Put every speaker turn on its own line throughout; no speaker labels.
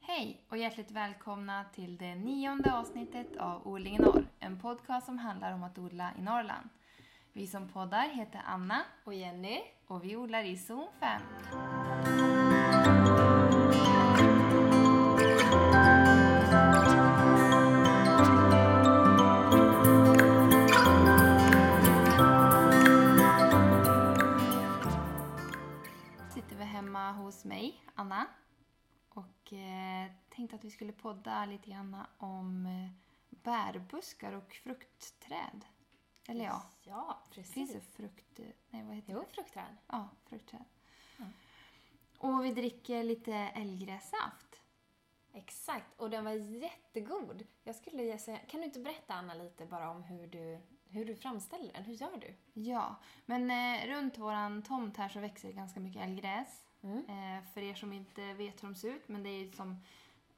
Hej och hjärtligt välkomna till det nionde avsnittet av Odling i norr. En podcast som handlar om att odla i Norrland. Vi som poddar heter Anna
Och Jenny.
och vi odlar i zon 5. Sitter vi hemma hos mig, Anna. Och eh, tänkte att vi skulle podda lite grann om eh, bärbuskar och fruktträd. Eller ja,
Ja, precis.
finns det frukt... eh, Nej, vad heter det?
Jo, fruktträd.
Ja, fruktträd.
Mm.
Och vi dricker lite älgrässaft.
Exakt. Och den var jättegod. Jag skulle ge- säga, kan du inte berätta Anna lite bara om hur du, hur du framställer den? Hur gör du?
Ja, men eh, runt våran tomt här så växer det ganska mycket älgräs.
Mm.
Eh, för er som inte vet hur de ser ut, men det är ju som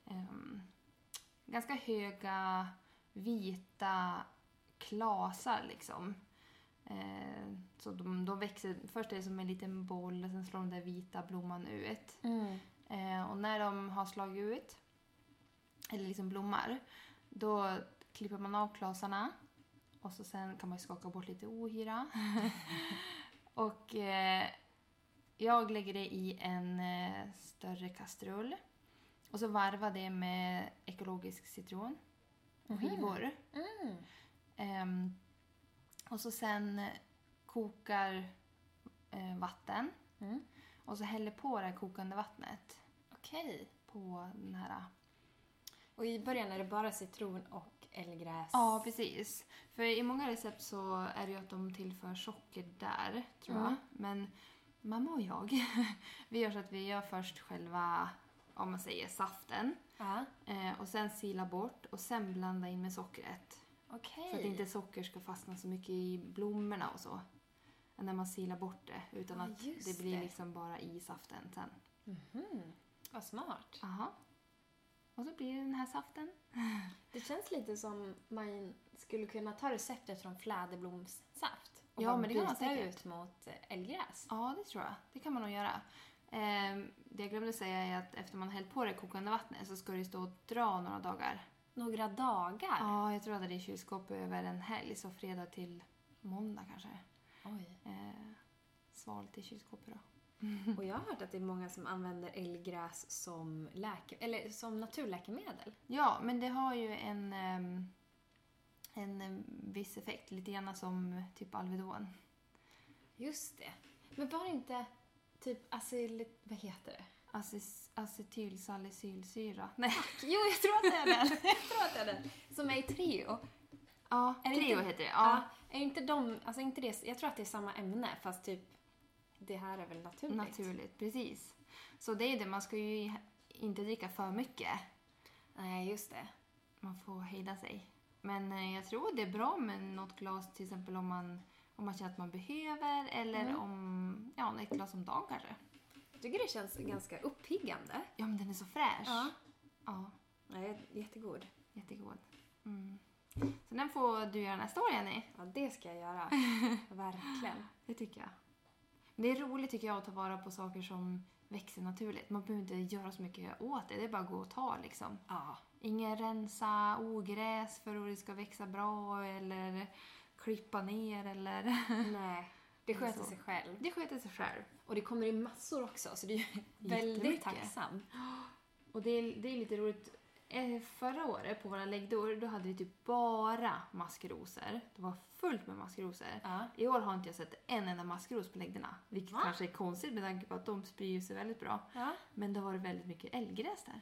ehm, ganska höga vita klasar liksom. Eh, så de, de växer, först är det som en liten boll och sen slår den där vita blomman ut. Eh, och när de har slagit ut, eller liksom blommar, då klipper man av klasarna och så sen kan man ju skaka bort lite ohyra. och eh, jag lägger det i en eh, större kastrull och så varvar det med ekologisk citron och
Mm-hmm.
skivor.
Mhm. Mm.
Ehm, och så sen kokar eh, vatten
Mm.
och så häller på det här kokande vattnet
Okej.
på den här...
Och i början är det bara citron och älgräs.
Ja, precis. För i många recept så är det ju att de tillför socker där, tror jag.
Mm.
Men mamma och jag, vi gör så att vi gör först själva, om man säger saften.
Ja,
Eh, och sen sila bort och sen blanda in med sockret.
Okej.
Så att inte socker ska fastna så mycket i blommorna och så. Än när man silar bort det. Utan
Ja,
att
just
det blir
det.
liksom bara i saften sen.
Mhm. Vad smart.
Aha. Och så blir det den här saften.
Det känns lite som man skulle kunna ta receptet från fläderblomssaft och
Ja,
bara
men det kan man
byta
säkert.
ut mot älgräs.
Ja, det tror jag. Det kan man nog göra. Ehm, det jag glömde säga är att efter man hällt på det kokande vattnet så ska det ju stå och dra några dagar.
Några dagar.
Ja, jag tror jag hade det i kylskåpet över en helg, så fredag till måndag kanske.
Oj.
Eh, svalt i kylskåpet då.
Och jag har hört att det är många som använder älgräs som, läke, eller som naturläkemedel.
Ja, men det har ju en, ehm, en eh, viss effekt, lite grann som typ Alvedon.
Just det. Men var det inte typ acyl... Vad heter det?
Aces- Acetylsalicylsyra. Nej,
Jo, jag tror att det är den. Jag tror att det är den. Som är i Treo.
ja,
Är det
Treo
inte-
heter det.
Ja.
Ja,
Är inte de... Alltså inte det... Jag tror att det är samma ämne fast typ... Det här är väl naturligt?
naturligt, precis. Så det är det, man ska ju inte dricka för mycket.
Nej, just det.
man får hejda sig. Men eh, jag tror det är bra med något glas till exempel om man, om man känner att man behöver eller
Mm.
om, ja, ett glas om dagen kanske.
Jag tycker det känns ganska uppiggande.
Ja, men den är så fräsch. Ja,
Nej, jättegod.
jättegod. Mm. Så den får du göra nästa år, Jenny.
Ja, det ska jag göra. Verkligen.
Det tycker jag. Men Det är roligt tycker jag att ta vara på saker som växer naturligt. Man behöver inte göra så mycket åt det. Det är bara att gå och ta liksom.
Ja.
Ingen rensa ogräs för att det ska växa bra eller klippa ner eller...
Nej. Det
Eller
sköter
så.
sig själv.
Det sköter sig själv.
Och det kommer i massor också, så du är väldigt
Jättemycket.
tacksam.
Och det är, det är lite roligt. Eh, Förra året på våra läggdor, då hade vi typ bara maskrosor. Det var fullt med maskrosor.
Ja.
I år har inte jag sett en enda maskros på läggdorna. Vilket
Va?
kanske är konstigt med tanke på att de sprider sig väldigt bra.
ja.
Men det har varit väldigt mycket älgräs där.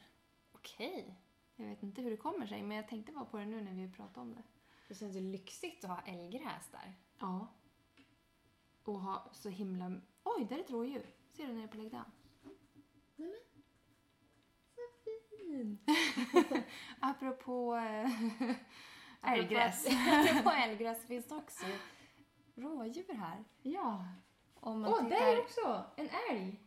Okej.
Jag vet inte hur det kommer sig, men jag tänkte bara på det nu när vi pratade om det.
Det känns ju lyxigt att ha älgräs där.
Ja. Och ha så himla... Oj, där är ett rådjur! Ser du nere på läggdan? Apropå eh, älgräs.
På älgräs finns det också rådjur här.
Ja.
Om
Åh,
tittar-
där är också! En älg!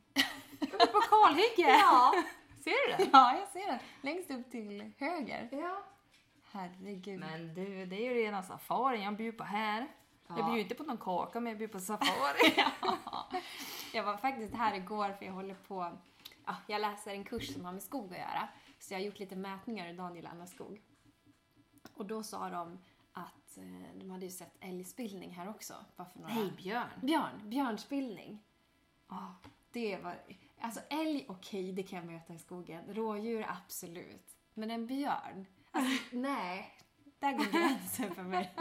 Uppe på kalhygge!
Ja.
Ser du den?
ja, jag ser den. Längst upp till höger.
Ja.
Herregud.
Men du, det är ju rena safarin jag bjuder på här. Jag
Ja.
bjuder inte på någon kaka, men jag bjuder på safari.
Jag var faktiskt här igår för jag håller på, ja, jag läser en kurs som har med skog att göra. Så jag har gjort lite mätningar i Daniel och Anna Skog. Och då sa de att eh, de hade ju sett älgspillning här också. Bara för några...
Nej, björn.
Björn, björnspillning.
Ja.
Det var... Alltså älg, okej, det kan jag möta i skogen. Rådjur, absolut. Men en björn? Alltså, nej. Där går gränsen för mig.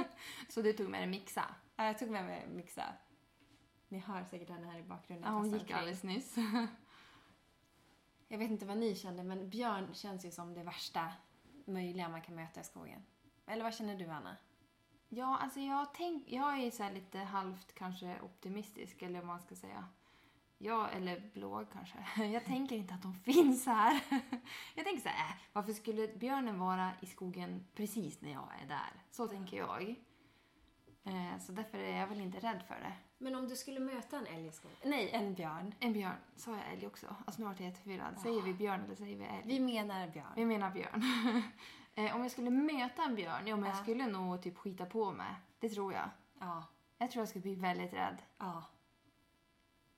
Så du tog med dig Mixa?
Ja, jag tog med mig Mixa. Ni hör säkert henne här i bakgrunden.
Ja, hon
tassa
gick
omkring.
alldeles nyss.
Jag vet inte vad ni kände, men björn känns ju som det värsta möjliga man kan möta i skogen. Eller vad känner du, Anna?
Ja, alltså jag, tänk, jag är så här lite halvt kanske optimistisk, eller vad man ska säga. Ja, eller blåg kanske. Jag tänker inte att de finns här. Jag tänker så här, äh, varför skulle björnen vara i skogen precis när jag är där? Så tänker jag. Eh, Så därför är jag väl inte rädd för det.
Men om du skulle möta en älg i skogen? Nej, en björn.
En björn, sa jag älg också? Alltså nu vart jag jätteförvirrad. Säger vi björn eller säger vi älg?
Vi menar björn.
Vi menar björn. Eh, Om jag skulle möta en björn, ja men jag
Ja.
skulle nog typ skita på mig. Det tror jag.
Ja.
Jag tror jag skulle bli väldigt rädd.
Ja.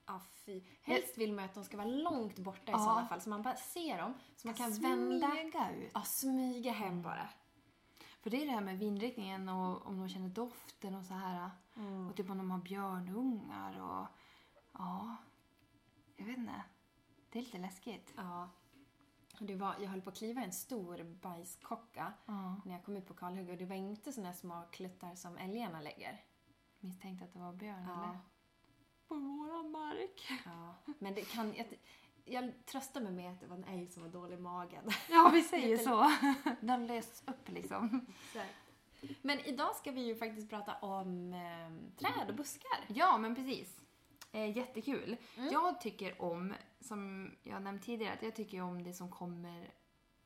Ja, fy. Helst vill man ju att de ska vara långt borta i
Ja.
sådana fall, så man bara ser dem. Så man kan vända.
Smyga ut.
Ja, smyga hem bara.
För det är det här med vindriktningen och om de känner doften och så här.
Mm.
Och typ om de har björnungar och... Ja. Jag vet inte. Det är lite läskigt.
Ja. Och det var, jag höll på att kliva i en stor bajskocka
Ja.
när jag kom ut på kalhugg och det var inte såna här små kluttar som älgarna lägger.
Misstänkte att det var björn
Ja.
eller? På våran mark.
Ja. Men det kan... Jag, jag tröstar mig med att det var en älg som var dålig i magen.
Ja, vi säger så. Den lösts upp liksom.
Men idag ska vi ju faktiskt prata om eh, träd och buskar.
Ja, men precis. Eh, jättekul.
Mm.
Jag tycker om, som jag nämnt tidigare, att jag tycker om det som kommer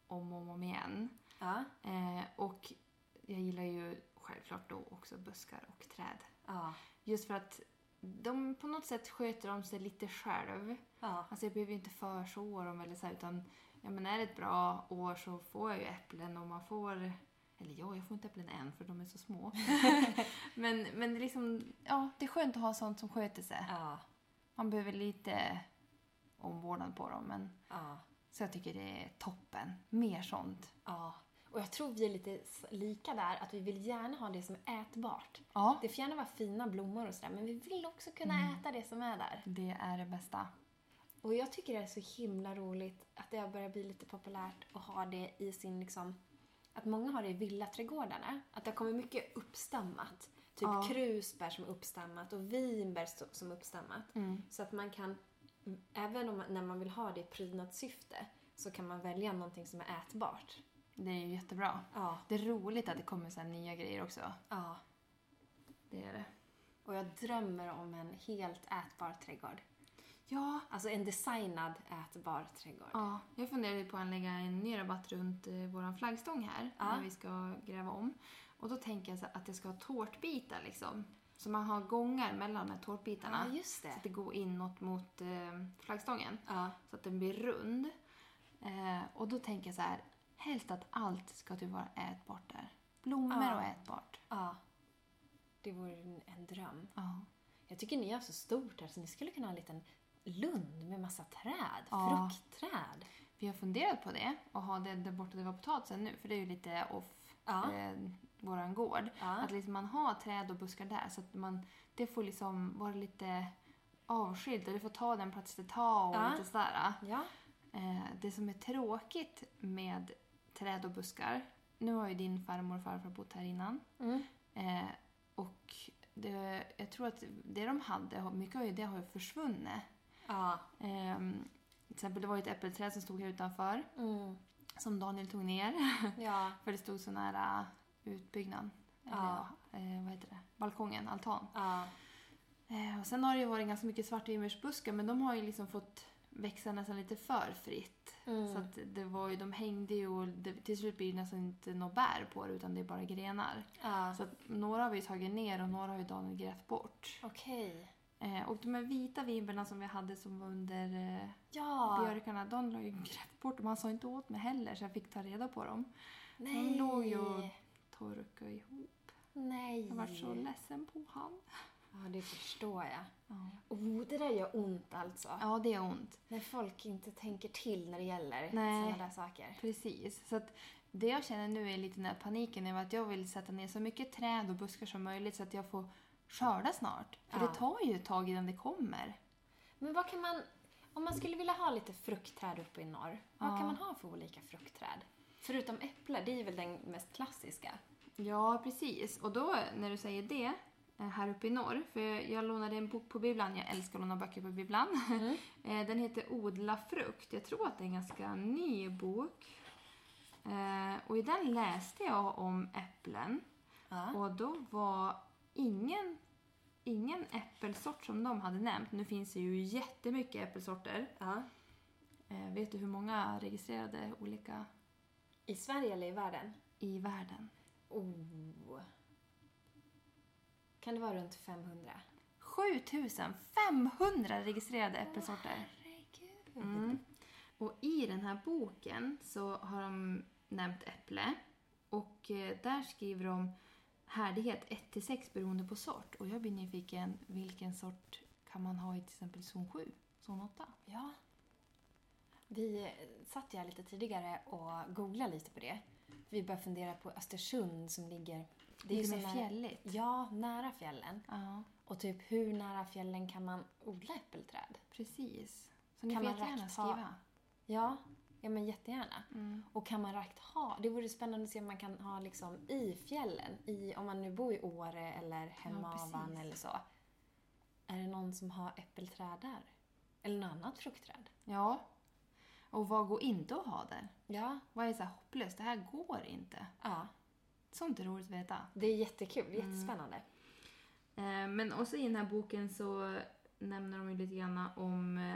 om och om igen.
Ja.
Eh, och jag gillar ju självklart då också buskar och träd.
Ja.
Just för att de på något sätt sköter om sig lite själv.
Ja.
Alltså jag behöver ju inte förså dem eller så här, utan ja, men är det ett bra år så får jag ju äpplen och man får eller ja, jag får inte äpplen än för de är så små. men, men liksom, ja, det är skönt att ha sånt som sköter sig.
ja.
Man behöver lite omvårdnad på dem. Men,
ja.
så jag tycker det är toppen. Mer sånt.
Ja, och jag tror vi är lite s- lika där, att vi vill gärna ha det som är ätbart.
Ja,
Det får gärna vara fina blommor och sådär, men vi vill också kunna
Mm.
äta det som är där.
det är det bästa.
Och jag tycker det är så himla roligt att det har börjat bli lite populärt att ha det i sin liksom, att många har det i villaträdgårdarna. Att det har kommit mycket uppstammat. Typ
Ja.
krusbär som är uppstammat och vinbär s- som är uppstammat. Så att man kan, även om, man- när man vill ha det i prydnadssyfte, så kan man välja någonting som är ätbart.
Det är ju jättebra.
Ja.
Det är roligt att det kommer så här nya grejer också.
Ja.
Det är det.
Och jag drömmer om en helt ätbar trädgård.
Ja,
Alltså en designad ätbar trädgård.
ja. jag funderade ju på att anlägga en ny rabatt runt eh, vår flaggstång här
Ja.
när vi ska gräva om. Och då tänker jag så att jag ska ha tårtbitar liksom. Så man har gångar mellan de här tårtbitarna.
Ja, just
Så att
det.
det går inåt mot eh, flaggstången.
Ja.
Så att den blir rund. Eh, och då tänker jag så här, helst att allt ska typ vara ätbart där. Blommor
Ja.
och ätbart.
ja. Det vore en, en dröm.
Ja.
Jag tycker ni har så stort här så ni skulle kunna ha en liten lund med massa träd.
Ja.
Fruktträd.
Vi har funderat på det och ha det där borta där var potatisen nu, för det är ju lite off
Ja.
eh, våran gård.
Ja.
Att liksom man har träd och buskar där så att man, det får liksom vara lite avskilt och det får ta den plats det tar och
Ja.
lite sådär.
Ja.
Eh, det som är tråkigt med träd och buskar, nu har ju din farmor och farfar bott här innan
Mm.
eh, och det, jag tror att det de hade, har- mycket av det har ju försvunnit.
Ja.
Eh, till exempel det var ju ett äppelträd som stod här utanför
Mm.
som Daniel tog ner.
Ja.
För det stod så nära utbyggnaden. Eller,
Ja.
eh, vad heter det? Balkongen, altan.
Ja.
Eh, och sen har det ju varit ganska mycket svartvinbärsbuskar men de har ju liksom fått växa nästan lite för fritt.
Mm.
Så att det var ju, de hängde ju och det, till slut blir det nästan inte några bär på det utan det är bara grenar.
ja.
Så att några har vi tagit ner och några har ju Daniel grävt bort.
Okej.
Eh, och de här vita vinbärna som vi hade som var under eh,
Ja.
björkarna, Daniel har ju grävt bort dem. Han sa inte åt mig heller så jag fick ta reda på dem.
Nej.
låg ju och- torka ihop.
Nej.
Jag var så ledsen på han.
Ja, det förstår jag.
Ja,
Oh, det där gör ont alltså.
ja det är ont.
När folk inte tänker till när det gäller
Nej.
sådana där saker.
Precis. Så att det jag känner nu är lite den här paniken över att jag vill sätta ner så mycket träd och buskar som möjligt så att jag får skörda snart. För
Ja.
det tar ju ett tag innan det kommer.
Men vad kan man... Om man skulle vilja ha lite fruktträd uppe i norr, vad
Ja.
kan man ha för olika fruktträd? Förutom äpple, det är väl den mest klassiska.
Ja, precis. Och då när du säger det, eh, här uppe i norr, för jag lånade en bok på bibblan, jag älskar att låna böcker på bibblan. Eh, Den heter Odla frukt. Jag tror att det är en ganska ny bok. Eh, Och i den läste jag om äpplen.
Ja.
Och då var ingen, ingen äppelsort som de hade nämnt. Nu finns det ju jättemycket äppelsorter.
ja.
Eh, Vet du hur många registrerade olika
I Sverige eller i världen?
i världen?
Oh. Kan det vara runt 500?
7500 registrerade äppelsorter.
Herregud.
Mm. Och i den här boken så har de nämnt äpple. Och eh, där skriver de härdighet 1-6 beroende på sort. Och jag blir nyfiken, vilken sort kan man ha i till exempel zon 7? Zon 8?
Ja. Vi eh, satt ju här lite tidigare och googlade lite på det. Vi började fundera på Östersund som ligger...
Det är ju
så
mer
nära-
fjälligt.
Ja, nära fjällen.
Ja,
Och typ hur nära fjällen kan man odla äppelträd?
precis. Så ni
Kan
får
man
jättegärna
rakt ha-
skriva.
Ja, ja men jättegärna.
Mm.
Och kan man rakt ha? Det vore spännande att se om man kan ha liksom i fjällen. I, om man nu bor i Åre eller Hemavan
precis.
eller så. Är det någon som har äppelträd där? Eller något annat fruktträd?
Ja. Och vad går inte att ha där?
Ja.
Vad är så här hopplöst? Det här går inte.
ja.
Sånt är roligt att veta.
Det är jättekul. Jättespännande.
Eh, Men också i den här boken så nämner de ju lite grann om eh,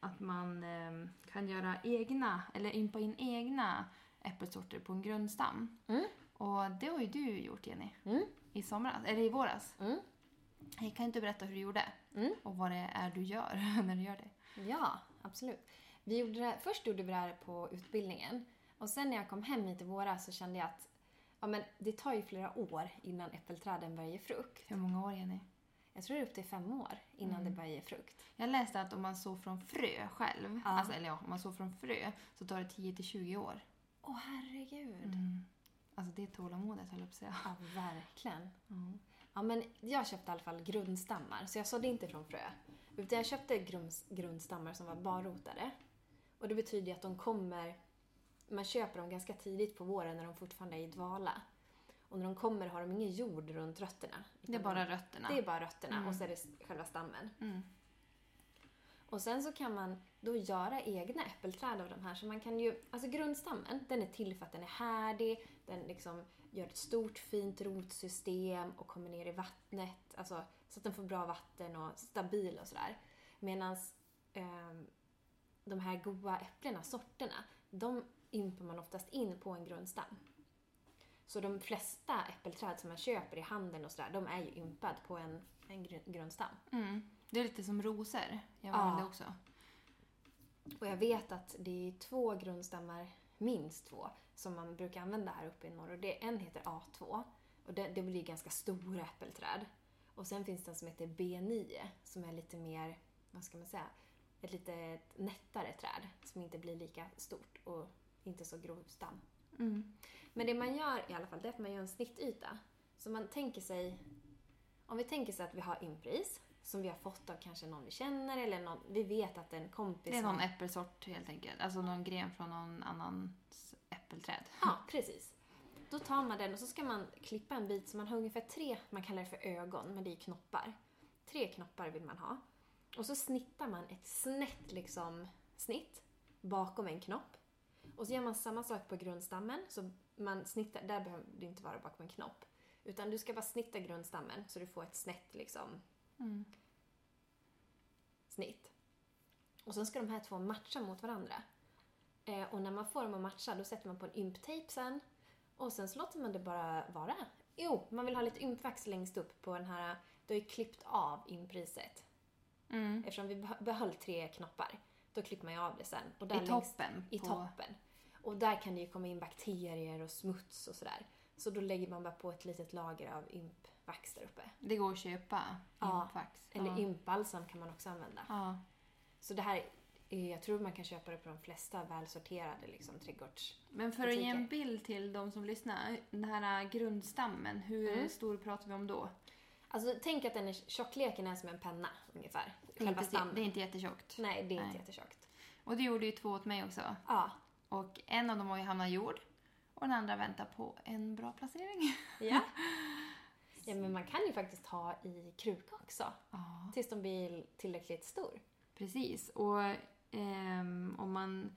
att man eh, kan göra egna, eller impa in egna äppelsorter på en grundstam.
Mm.
Och det har ju du gjort Jenny,
Mm.
i somras, eller i våras.
Mm.
Jag kan inte berätta hur du gjorde
Mm.
och vad det är du gör när du gör det.
Ja, absolut. Vi gjorde det, först gjorde vi det här på utbildningen. Och sen när jag kom hem hit i våras så kände jag att ja, men det tar ju flera år innan äppelträden börjar ge frukt.
Hur många år Jenny?
Jag tror det är upp till fem år innan det börjar ge frukt.
Jag läste att om man sår från frö själv,
Ja.
alltså, eller ja, om man sår från frö så tar det 10 till 20 år.
Åh herregud.
Alltså det är tålamodet höll jag på att säga.
Mm. Ja, verkligen. Ja, men jag köpte i alla fall grundstammar, så jag sådde inte från frö. Utan jag köpte grums- grundstammar som var barrotade. Och det betyder ju att de kommer... Man köper dem ganska tidigt på våren när de fortfarande är i dvala. Och när de kommer har de ingen jord runt rötterna.
Det är bara rötterna.
Det är bara rötterna och så är det själva stammen.
Mm.
Och sen så kan man då göra egna äppelträd av de här. Så man kan ju, alltså grundstammen, den är till för att den är härdig, den liksom gör ett stort fint rotsystem och kommer ner i vattnet. Alltså så att den får bra vatten och stabil och sådär. Medan de här goa äpplena, sorterna, de impar man oftast in på en grundstam. Så de flesta äppelträd som man köper i handeln och sådär, de är ju ympad på en, en gr- grundstam.
Mm. Det är lite som rosor. Jag
Ja.
valde också.
Och jag vet att det är två grundstammar, minst två, som man brukar använda här uppe i norr. Och det, en heter A2 och det, det blir ganska stora äppelträd. Och sen finns den som heter B9 som är lite mer, vad ska man säga, ett lite nättare träd som inte blir lika stort och inte så grov stam.
Mm.
Men det man gör i alla fall, det är att man gör en snittyta. Så man tänker sig, om vi tänker sig att vi har impris som vi har fått av kanske någon vi känner eller någon, vi vet att en kompis
Det är
har-
någon äppelsort helt enkelt. Alltså någon gren från någon annans äppelträd.
Ja, precis. Då tar man den och så ska man klippa en bit som man har ungefär tre, man kallar det för ögon, men det är knoppar. Tre knoppar vill man ha. Och så snittar man ett snett liksom, snitt bakom en knopp. Och så gör man samma sak på grundstammen, så man snittar, där behöver du inte vara bakom en knopp. Utan du ska bara snitta grundstammen så du får ett snett liksom,
Mm.
snitt. Och sen ska de här två matcha mot varandra. Eh, och när man får dem att matcha, då sätter man på en ymptejp sen. Och sen så låter man det bara vara. Jo, man vill ha lite ympvax längst upp på den här, du har ju klippt av ympriset.
Mm.
Eftersom vi beh- behöll tre knoppar, då klipper man ju av det sen. Och där
I
längst-
toppen.
I
på-
toppen. Och där kan det ju komma in bakterier och smuts och sådär. Så då lägger man bara på ett litet lager av ymp vax där uppe.
Det går att köpa
Ja,
impvax.
Eller
ja.
ympbalsam kan man också använda.
ja.
Så det här, är- jag tror man kan köpa det på de flesta välsorterade liksom, trädgårds...
Men för att ge en
butiker.
bild till de som lyssnar. Den här grundstammen, hur
Mm.
stor pratar vi om då?
Alltså tänk att den är, tjockleken är som en penna ungefär. Själva
Inte-
stammen.
det är inte jättetjockt.
Nej, det är
Nej.
inte jättetjockt.
Och det gjorde ju två åt mig också.
Ja.
Och en av dem har ju hamnat i jord. Och den andra väntar på en bra placering.
Ja. ja, men man kan ju faktiskt ha i kruka också.
Ja.
Tills de blir tillräckligt stor.
Precis. Och ehm, om man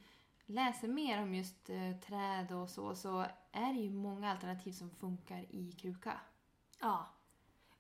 läser mer om just eh, träd och så, så är det ju många alternativ som funkar i kruka.
Ja.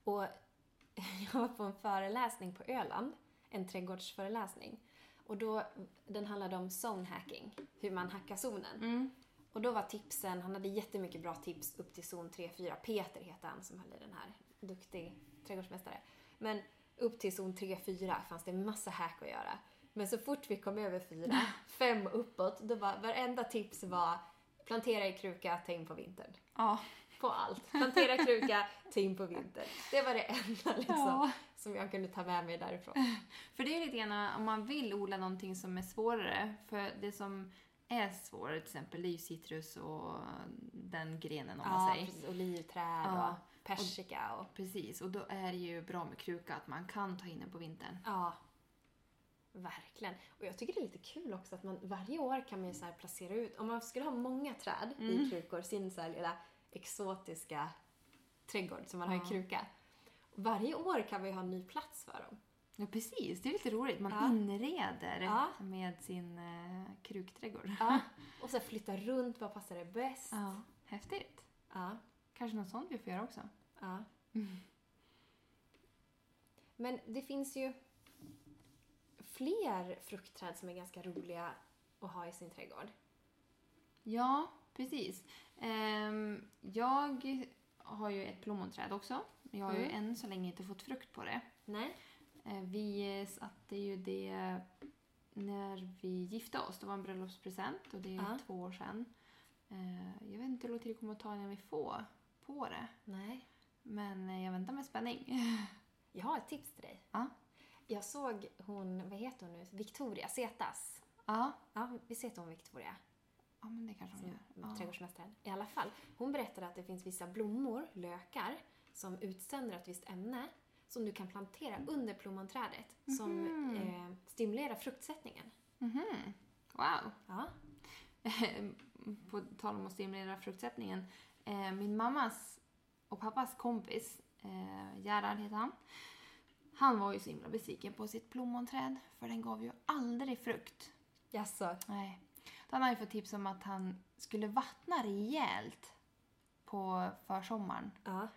Och jag var på en föreläsning på Öland, en trädgårdsföreläsning. Och då, den handlade om zone hacking, hur man hackar zonen. Och då var tipsen, han hade jättemycket bra tips upp till zon 3-4. Peter heter han som höll i den här, duktig trädgårdsmästare. Men upp till zon 3-4 fanns det massa hack att göra. Men så fort vi kom över 4, 5 uppåt, då var varenda tips var plantera i kruka, ta in på vintern.
Ja.
På allt. Plantera i kruka, ta in på vintern. Det var det enda liksom,
Ja.
som jag kunde ta med mig därifrån.
För det är lite grann om man vill odla någonting som är svårare. För det som är svårare till exempel det är ju citrus och den grenen om man
Ja,
säger.
precis. Olivträd
Ja.
och persika och...
Precis, och då är det ju bra med kruka att man kan ta in den på vintern.
Ja. Verkligen. Och jag tycker det är lite kul också att man varje år kan man ju så här placera ut, om man skulle ha många träd
Mm.
i krukor, sin så här lilla exotiska trädgård som man har
Ja.
i kruka. Varje år kan man ju ha en ny plats för dem.
Ja precis, det är lite roligt. Man
Ja.
inreder
Ja.
med sin eh, krukträdgård.
Ja. Och så här flytta runt, vad passar det bäst?
Ja. Häftigt.
Ja.
Kanske något sånt vi får göra också.
Ja. Men det finns ju fler fruktträd som är ganska roliga att ha i sin trädgård.
Ja, precis. Ehm, jag har ju ett plommonträd också. Jag har ju
Mm.
än så länge inte fått frukt på det.
Nej?
Eh, vi satte ju det när vi gifte oss. Det var en bröllopspresent och det är
Ja.
två år sedan. Eh, jag vet inte hur lång tid det kommer att ta innan vi får på det.
Nej.
Men eh, jag väntar med spänning.
Jag har ett tips till dig.
Ja.
Jag såg hon, vad heter hon nu, Victoria Zetas.
ja.
Ja, vi heter hon Victoria,
ja, men det kanske de
som
gör. Ja.
trädgårdsmästaren. I alla fall, hon berättade att det finns vissa blommor, lökar, som utsöndrar ett visst ämne som du kan plantera under plommonträdet som
Mhm.
eh, stimulerar fruktsättningen.
Mhm. Wow.
Ja.
på tal om att stimulera fruktsättningen. Eh, min mammas och pappas kompis, eh, Gerhard heter han. Han var ju så himla besviken på sitt plommonträd för den gav ju aldrig frukt.
Jaså?
Nej. Då hade han ju fått tips om att han skulle vattna rejält på försommaren.
Ja.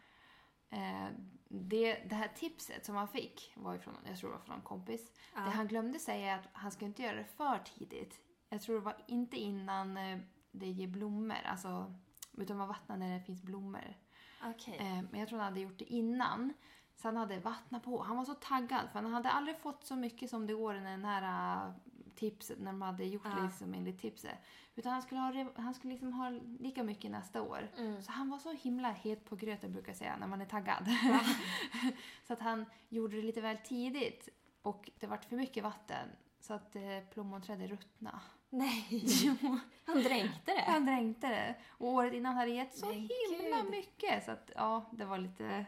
Eh, det, det här tipset som han fick var ju från, jag tror det var från en kompis.
Ja.
Det han glömde säga är att han ska inte göra det för tidigt. Jag tror det var inte innan eh, det ger blommor, alltså, utan man vattnar när det finns blommor.
Okej.
Eh, Men jag tror han hade gjort det innan. Så han hade vattnat på. Han var så taggad för han hade aldrig fått så mycket som det går i den här eh, tipset, när de hade gjort det
Ja.
liksom enligt tipset. Utan han skulle, ha, det- han skulle liksom ha lika mycket nästa år.
Mm.
Så han var så himla het på gröten brukar jag säga när man är taggad. så att han gjorde det lite väl tidigt och det vart för mycket vatten. Så att eh, plommonträdet ruttnade.
Nej! Han dränkte det.
Han dränkte det. Och året innan hade det gett så
Äh. Men
himla
gud.
mycket. Så att ja, det var lite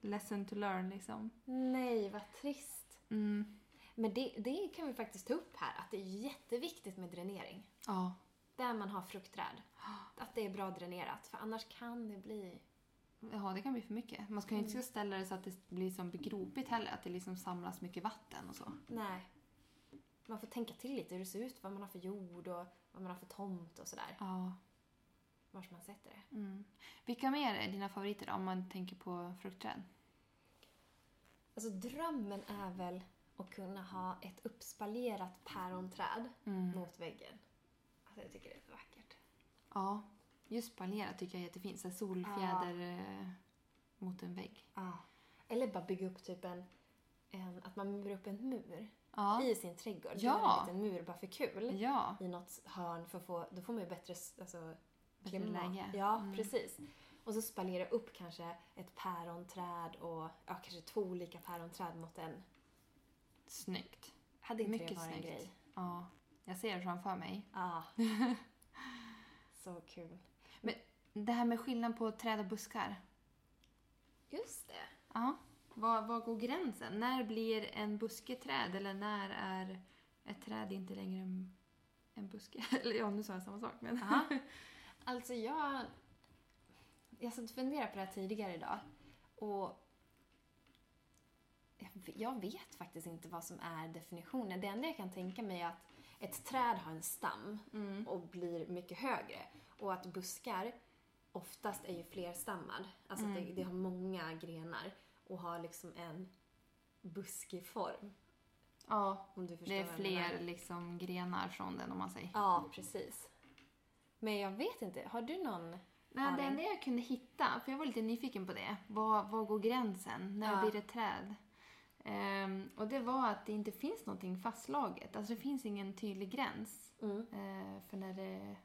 lesson to learn liksom.
Nej, vad trist.
Mm.
Men det, det kan vi faktiskt ta upp här, att det är jätteviktigt med dränering.
Ja.
Där man har fruktträd. Att det är bra dränerat, för annars kan det bli...
ja, det kan bli för mycket. Man ska ju inte ställa det så att det blir som gropigt heller. Att det liksom samlas mycket vatten och så.
Nej. Man får tänka till lite hur det ser ut, vad man har för jord och vad man har för tomt och sådär.
Ja.
Var man sätter det.
Mm. Vilka mer är dina favoriter då, om man tänker på fruktträd?
Alltså drömmen är väl att kunna ha ett uppspaljerat päronträd mot väggen. Alltså jag tycker det är så vackert.
Ja. Just palera tycker jag är jättefint. Så här solfjäder eh, mot en vägg.
Ja. Eller bara bygga upp typ en, en att man murar upp en mur
Ja.
i sin trädgård.
Ja.
Göra en liten mur bara för kul
Ja.
i något hörn för att få, då får man ju bättre, s- alltså,
Bättre läge.
Ja,
Mm.
precis. Och så spaljera upp kanske ett päronträd och ja, kanske två olika päronträd mot en.
Snyggt.
Hade inte det
Mycket
varit en
snyggt.
grej?
Ja, jag ser det framför mig.
Ja. så kul.
Det här med skillnad på träd och buskar.
Just det.
Ja. Var, var går gränsen? När blir en buske träd eller när är ett träd inte längre en, en buske? Eller ja, nu sa jag samma sak. Men...
Ja. Alltså jag... Jag satt och funderade på det här tidigare idag. Och jag v- jag vet faktiskt inte vad som är definitionen. Det enda jag kan tänka mig är att ett träd har en stam
Mm.
och blir mycket högre. Och att buskar oftast är ju flerstammad. Alltså att det, det har många grenar och har liksom en buskig form.
ja.
Om du förstår
Det är
vad jag menar.
fler liksom grenar från den om man säger.
Ja, precis. Men jag vet inte. Har du någon?
Nej, det
aning?
enda jag kunde hitta, för jag var lite nyfiken på det, var, var går gränsen? När
Ja.
blir det ett träd? Ehm, och det var att det inte finns någonting fastslaget. Alltså det finns ingen tydlig gräns
Mm.
eh, för när det,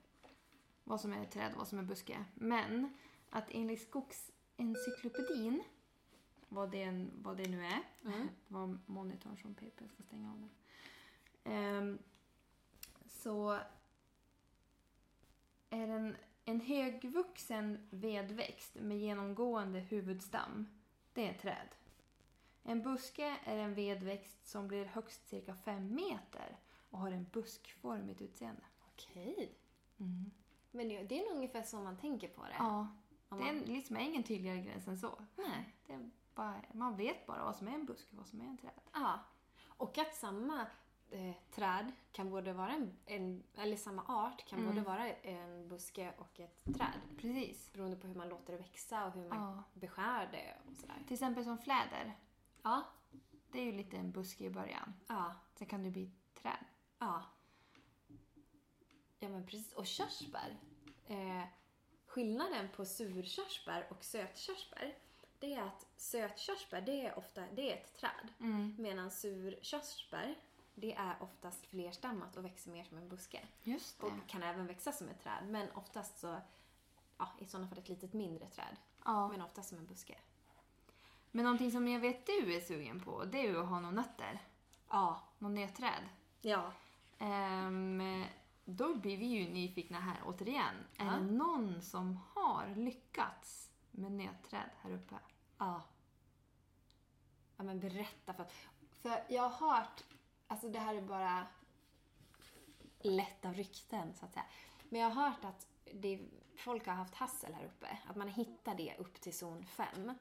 vad som är ett träd och vad som är buske. Men att enligt skogsencyklopedin, vad det, en- vad det nu är,
Mm.
det var monitorn som pep, jag ska stänga av den. Ehm, så är en, en högvuxen vedväxt med genomgående huvudstam, det är ett träd. En buske är en vedväxt som blir högst cirka 5 meter och har en buskformigt utseende.
Okej. Men det, det är nog ungefär så man tänker på det.
Ja,
Om
det är
man,
en- liksom ingen tydligare gräns än så.
nej.
Det är bara, man vet bara vad som är en buske och vad som är en träd.
Ja. Och att samma eh, träd kan både vara en, en eller samma art kan både vara en buske och ett träd.
Precis.
Beroende på hur man låter det växa och hur man
Ja.
beskär det och sådär.
Till exempel som fläder,
Ja.
det är ju lite en buske i början.
Ja.
Sen kan det bli ett träd.
Ja. Ja men precis. Och körsbär. Eh, skillnaden på surkörsbär och sötkörsbär det är att sötkörsbär det är ofta det är ett träd. Medan surkörsbär det är oftast flerstammat och växer mer som en buske.
Just
Och kan även växa som ett träd men oftast så ja, i sådana fall ett litet mindre träd.
Ja.
Men oftast som en buske.
Men någonting som jag vet du är sugen på, det är ju att ha några nötter.
Ja.
Någon nötträd.
Ja.
Ehm, då blir vi ju nyfikna här återigen. Är
Ja.
det någon som har lyckats med nötträd här uppe?
Ja. Ja men berätta för att, för jag har hört, alltså det här är bara lätta rykten så att säga. Men jag har hört att det, folk har haft hassel här uppe, att man hittar det upp till zon 5.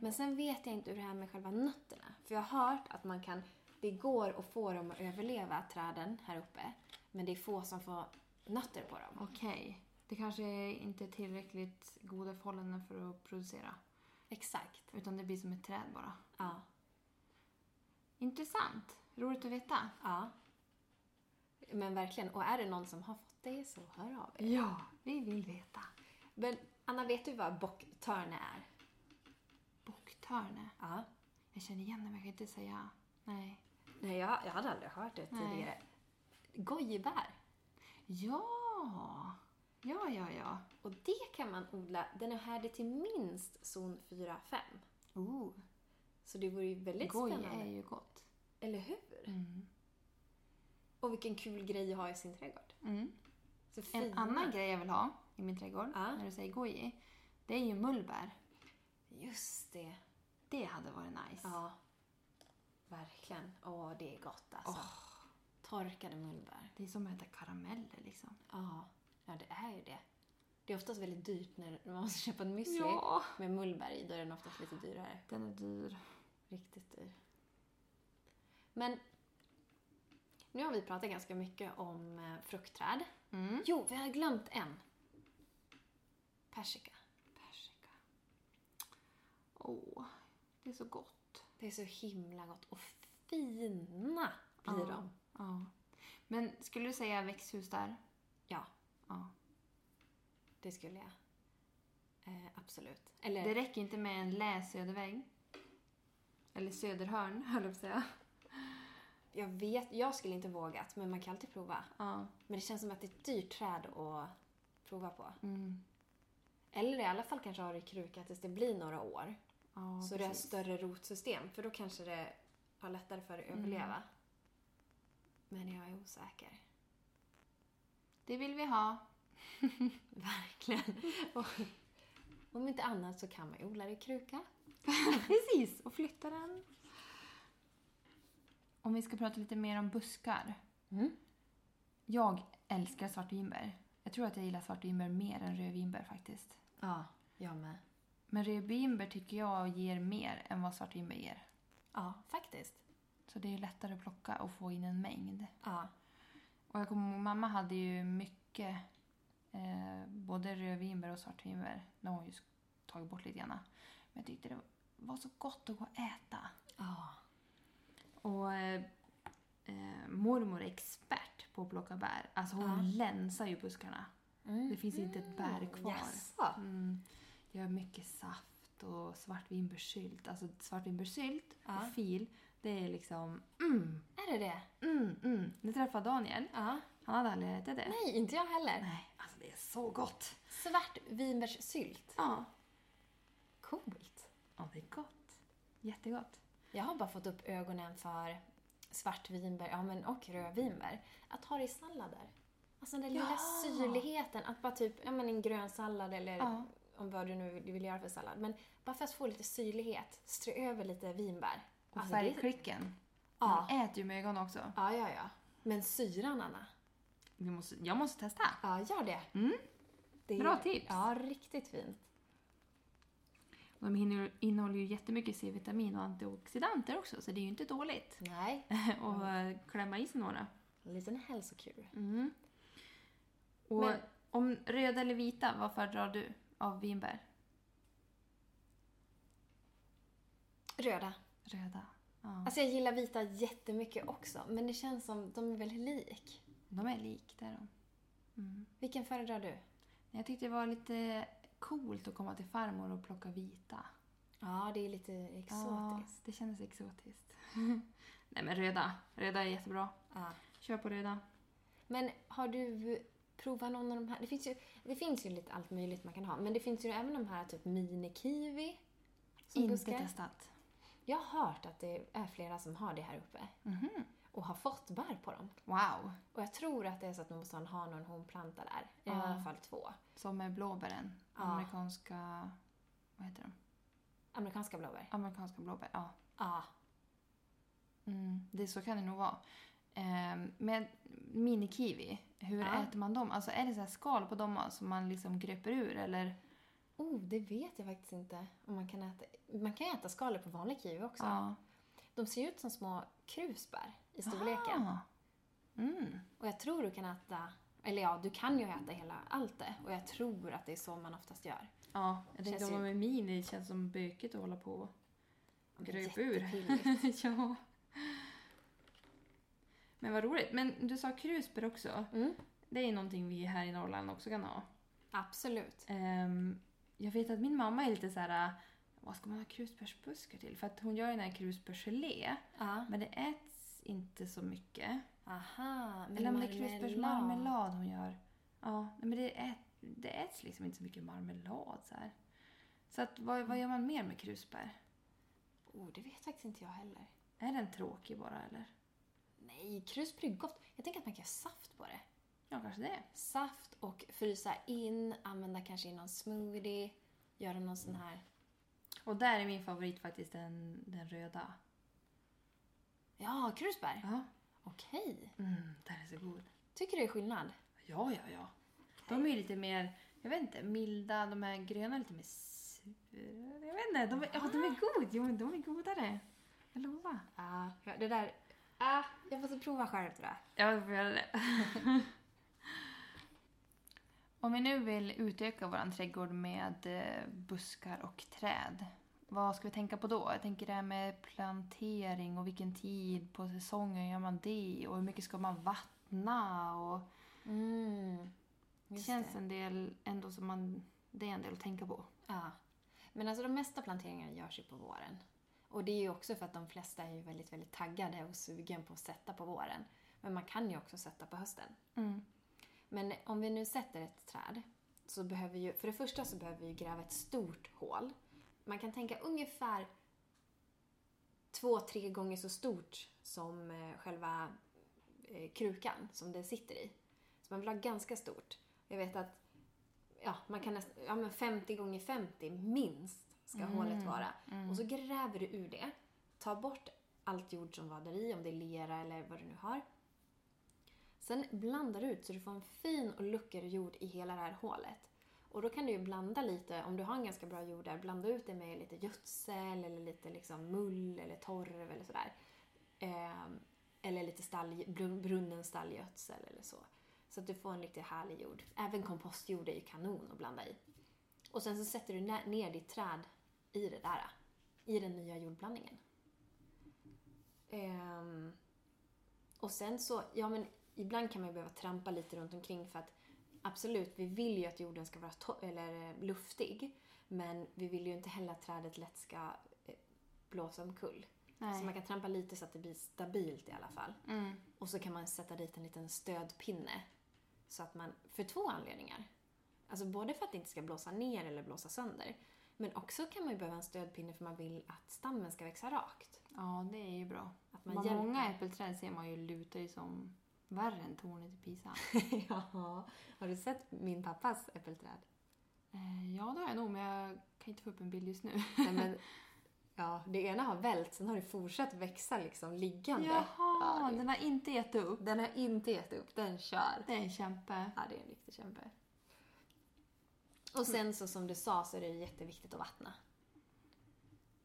Men sen vet jag inte hur det är med själva nötterna. För jag har hört att man kan, det går att få dem att överleva träden här uppe. Men det är få som får nötter på dem.
Okej. Det kanske inte är tillräckligt goda förhållanden för att producera.
Exakt.
Utan det blir som ett träd bara.
Ja.
Intressant. Roligt att veta.
Ja. Men verkligen. Och är det någon som har fått det så hör av er.
Ja, vi vill veta.
Men Anna, vet du vad bocktörne är?
Bocktörne.
Ja.
Jag känner igen det men jag kan inte säga... Nej.
Nej, jag, jag hade aldrig hört det
Nej.
tidigare. Gojibär.
Ja! Ja, ja, ja.
Och det kan man odla. Den är härdig till minst zon 4-5.
Oh,
Så det vore ju väldigt
goj är
spännande. Mm.
ju gott.
Eller hur? Och vilken kul grej att ha i sin trädgård. Så
Mm. En
fina.
annan grej jag vill ha i min trädgård,
Ja.
när du säger goji, det är ju mullbär.
Just det.
Det hade varit nice.
Ja. Verkligen. Åh, det är gott alltså. Torkade mullbär.
Det är som att äta karameller liksom.
Ja, ja det är ju det. Det är oftast väldigt dyrt när man måste köpa en müsli
Ja.
med mullbär i. Då är den oftast lite dyrare.
Den är dyr.
Riktigt dyr. Men nu har vi pratat ganska mycket om eh, fruktträd.
Mm.
Jo, vi har glömt en. Persika.
Persika. Åh, det är så gott.
Det är så himla gott. Och fina blir
Ja.
de.
Ja. Men skulle du säga växthus där?
Ja,
Ja.
det skulle jag. Eh, absolut. Eller,
Det räcker inte med en läsödervägg. Eller söderhörn, höll jag på att säga.
jag vet, jag skulle inte vågat, men man kan alltid prova.
Ja.
Men det känns som att det är ett dyrt träd att prova på.
Mm.
Eller i alla fall kanske ha det i kruka tills det blir några år.
Ja,
så det är
precis.
större rotsystem, för då kanske det har lättare för att överleva. Men jag är osäker.
det vill vi ha.
Verkligen. Och, om inte annat så kan man ju odla det i kruka.
Precis, och flytta den. Om vi ska prata lite mer om buskar.
Mm.
Jag älskar svartvinbär. Jag tror att jag gillar svartvinbär mer än rödvinbär faktiskt.
Ja, jag med.
Men rödvinbär tycker jag ger mer än vad svartvinbär ger.
Ja, faktiskt.
Så det är lättare att plocka och få in en mängd.
Ja.
Och jag kommer ihåg, mamma hade ju mycket eh, både rödvinbär och svartvinbär. Nu har hon ju tagit bort lite grann. Men jag tyckte det var så gott att gå och äta.
ja.
Och eh, eh, mormor är expert på att plocka bär. Alltså hon
Ja.
länsar ju buskarna.
Mm.
Det finns inte ett bär kvar.
Jaså?
Mm. Gör mycket saft och svartvinbärssylt. Alltså svartvinbärssylt
Ja.
och fil, det är liksom mm,
Är det det?
mm, mm. Nu träffade Daniel.
Ja.
Han hade aldrig ätit det.
Nej, inte jag heller.
Nej, alltså det är så gott.
Svart vinbärssylt.
Ja.
Coolt.
Ja, det är gott. Jättegott.
Jag har bara fått upp ögonen för svartvinbär ja, men, och rödvinbär. Att ha det i sallader. Alltså den där lilla
Ja.
syrligheten. Att bara typ, ja men en grön sallad eller
Ja.
om vad du nu vill vill göra för sallad. Men bara för att få lite syrlighet, strö över lite vinbär.
Och
Alltså, det-
färgklicken.
Ja.
Man äter ju med ögonen också.
ja, ja, ja. Men syran, Anna.
Vi måste, jag måste testa.
Ja, gör det.
Mm.
det
Bra tips.
Ja, riktigt fint.
De hinner- innehåller ju jättemycket C-vitamin och antioxidanter också, så det är ju inte dåligt
Nej,
att eh, klämma i sig några.
en liten hälsokur.
Mm. Och
Men-
om röda eller vita, vad föredrar du av vinbär?
Röda.
Röda. Ja.
Alltså jag gillar vita jättemycket också, men det känns som de är väldigt lik.
De är lik, det är de.
Vilken föredrar du?
Men Jag tyckte det var lite coolt att komma till farmor och plocka vita.
Ja, det är lite exotiskt.
det kändes exotiskt. Nej men röda. Röda är jättebra.
Ja.
Kör på röda.
Men har du provat någon av de här? Det finns, ju, det finns ju lite allt möjligt man kan ha, men det finns ju även de här typ mini-kiwi. som
Inte
buskar.
testat.
Jag har hört att det är flera som har det här uppe
Mhm.
och har fått bär på dem.
Wow!
Och jag tror att det är så att man måste ha någon honplanta där. I
Ja.
alla fall två.
Som med blåbären.
Ja.
Amerikanska... Vad heter de?
Amerikanska blåbär.
Amerikanska blåbär, ja.
Ja.
Mm, det så kan det nog vara. Ehm, men minikiwi, hur
Ja.
äter man dem? Alltså är det så här skal på dem som man liksom gröper ur eller?
Oh, det vet jag faktiskt inte. Om man, kan äta, man kan äta skalet på vanlig kiwi också.
Ja.
De ser ju ut som små krusbär i storleken.
Ah. Mm.
Och jag tror du kan äta, eller ja, du kan ju äta hela allt det. Och jag tror att det är så man oftast gör.
Ja, jag tänkte
Känns
om
ju-
de är mini känns som böket att hålla på och
Men
gröpa ur.
jättepilligt.
ja. Men vad roligt. Men du sa krusbär också.
Mm,
Det är ju någonting vi här i Norrland också kan ha.
absolut.
Ehm, jag vet att min mamma är lite så här. Vad ska man ha krusbärsbuskar till? För att hon gör ju den här krusbärsgelé.
Ja.
Men det äts inte så mycket.
Aha, men
Eller om det är
marmelad.
krusbärsmarmelad hon gör. Ja, nej, men det, ät, det äts liksom inte så mycket marmelad så här. Så att, vad, vad gör man mer med krusbär?
Oh, det vet faktiskt inte jag heller.
Är den tråkig bara eller?
Nej, krusbär är gott. Jag tänker att man kan göra saft på det.
Ja, kanske det.
Saft och frysa in, använda kanske i någon smoothie, göra någon sån här...
Och där är min favorit faktiskt den, den röda.
Ja, krusbär!
Ja.
Okej.
Mm, den är så god.
Tycker du det är skillnad?
Ja, ja, ja. De är ju lite mer, jag vet inte, milda. De här gröna är lite mer sura. Jag vet inte, de är, ja, de är god. Jo, men de är godare. Jag lovar.
Ja, det där... Ah, jag måste prova själv tror jag.
Ja, vi får göra det. Om vi nu vill utöka vår trädgård med eh, buskar och träd, vad ska vi tänka på då? Jag tänker det här med plantering och vilken tid på säsongen gör man det och hur mycket ska man vattna? Och
Mm.
det
Just
känns
det.
en del ändå som man, det är en del att tänka på.
Ja. Men alltså de mesta planteringarna görs ju på våren. Och det är ju också för att de flesta är ju väldigt, väldigt taggade och sugen på att sätta på våren. Men man kan ju också sätta på hösten.
Mm.
Men om vi nu sätter ett träd så behöver ju, för det första så behöver vi gräva ett stort hål. Man kan tänka ungefär två, tre gånger så stort som eh, själva eh, krukan som det sitter i. Så man vill ha ganska stort. Jag vet att ja, man kan nästan, ja, men 50 gånger 50 minst ska hålet vara.
Mm.
Och så gräver du ur det, tar bort allt jord som var där i, om det är lera eller vad du nu har. Sen blandar du ut så du får en fin och lucker jord i hela det här hålet. Och då kan du ju blanda lite, om du har en ganska bra jord där, blanda ut det med lite gödsel eller lite liksom mull eller torv eller sådär. Ehm, eller lite stall, brun- brunnen stallgödsel eller så. Så att du får en lite härlig jord. Även kompostjord är ju kanon att blanda i. Och sen så sätter du nä- ner ditt träd i det där. I den nya jordblandningen. Ehm, och sen så, ja men ibland kan man ju behöva trampa lite runt omkring för att absolut, vi vill ju att jorden ska vara to- eller eh, luftig. Men vi vill ju inte heller att trädet lätt ska eh, blåsa omkull. Så man
Nej.
kan trampa lite så att det blir stabilt i alla fall.
Mm.
Och så kan man sätta dit en liten stödpinne. Så att man, för två anledningar. Alltså både för att det inte ska blåsa ner eller blåsa sönder. Men också kan man ju behöva en stödpinne för man vill att stammen ska växa rakt.
Ja, det är ju bra.
Att man
Man många
hjälper.
äppelträd ser man ju lutar ju som värre än tornet i Pisa.
ja, har du sett min pappas äppelträd?
Eh, ja, det har jag nog, men jag kan inte få upp en bild just nu.
Nej, men, ja, det ena har vält, sen har det fortsatt växa liksom liggande.
Jaha,
det-
den har inte gett upp.
Den har inte gett upp, den kör.
Det är en kämpe.
Ja, det är en riktig kämpe. Och sen så som du sa så är det jätteviktigt att vattna.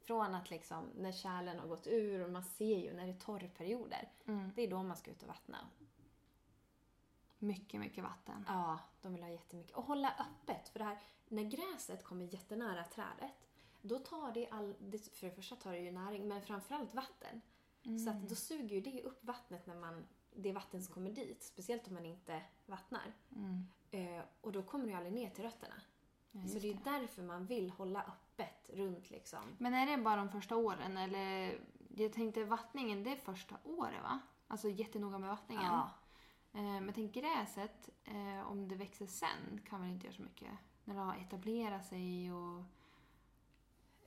Från att liksom när kärlen har gått ur och man ser ju när det är torrperioder.
Mm.
Det är då man ska ut och vattna.
Mycket, mycket vatten.
Ja, de vill ha jättemycket. Och hålla öppet. För det här, när gräset kommer jättenära trädet, då tar det all... det- För det första tar det ju näring, men framförallt vatten.
Mm.
Så att då suger ju det upp vattnet när man... Det vatten som kommer dit. Speciellt om man inte vattnar.
Mm.
Eh, och då kommer det ju aldrig ner till rötterna.
Ja, just
så det är
det.
ju därför man vill hålla öppet runt liksom.
Men är det bara de första åren eller? Jag tänkte vattningen, det är första året va? Alltså jättenoga med vattningen.
Ja.
Eh, Men tänk gräset, eh, om det växer sen kan väl inte göra så mycket? När det har etablerat sig och...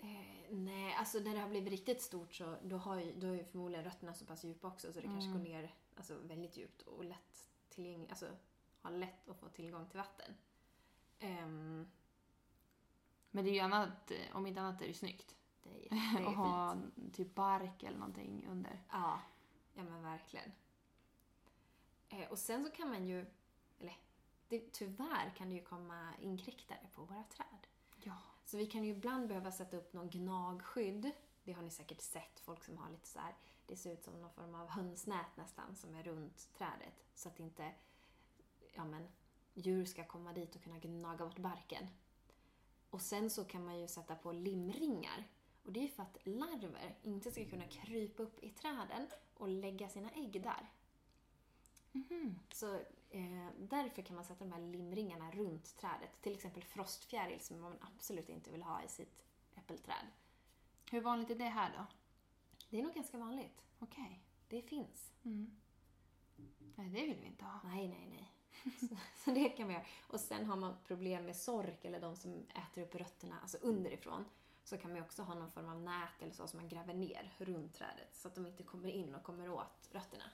Eh, nej, alltså när det har blivit riktigt stort så då har ju, då är ju förmodligen rötterna så pass djupa också så det kanske
Mm.
går ner alltså, väldigt djupt och lätt tillgängligt, alltså har lätt att få tillgång till vatten. Ehm,
Men det är ju annat, eh, om inte annat är det ju snyggt.
det är, jätte- det
Att
är fint.
ha typ bark eller någonting under.
Ja, ja men verkligen. Eh, och sen så kan man ju, eller det, tyvärr kan det ju komma inkräktare på våra träd.
Ja.
Så vi kan ju ibland behöva sätta upp någon gnagskydd. Det har ni säkert sett, folk som har lite så här. Det ser ut som någon form av hönsnät nästan som är runt trädet. Så att inte ja men, djur ska komma dit och kunna gnaga bort barken. Och sen så kan man ju sätta på limringar. Och det är ju för att larver inte ska kunna krypa upp i träden och lägga sina ägg där.
Mhm.
Så eh, därför kan man sätta de här limringarna runt trädet. Till exempel frostfjäril som man absolut inte vill ha i sitt äppelträd.
Hur vanligt är det här då?
Det är nog ganska vanligt.
Okej. Mm.
Det finns.
Nej, det vill vi inte ha.
Nej, nej, nej. Så, så det kan man göra. Och sen har man problem med sork eller de som äter upp rötterna, alltså underifrån. Så kan man ju också ha någon form av nät eller så som man gräver ner runt trädet så att de inte kommer in och kommer åt rötterna.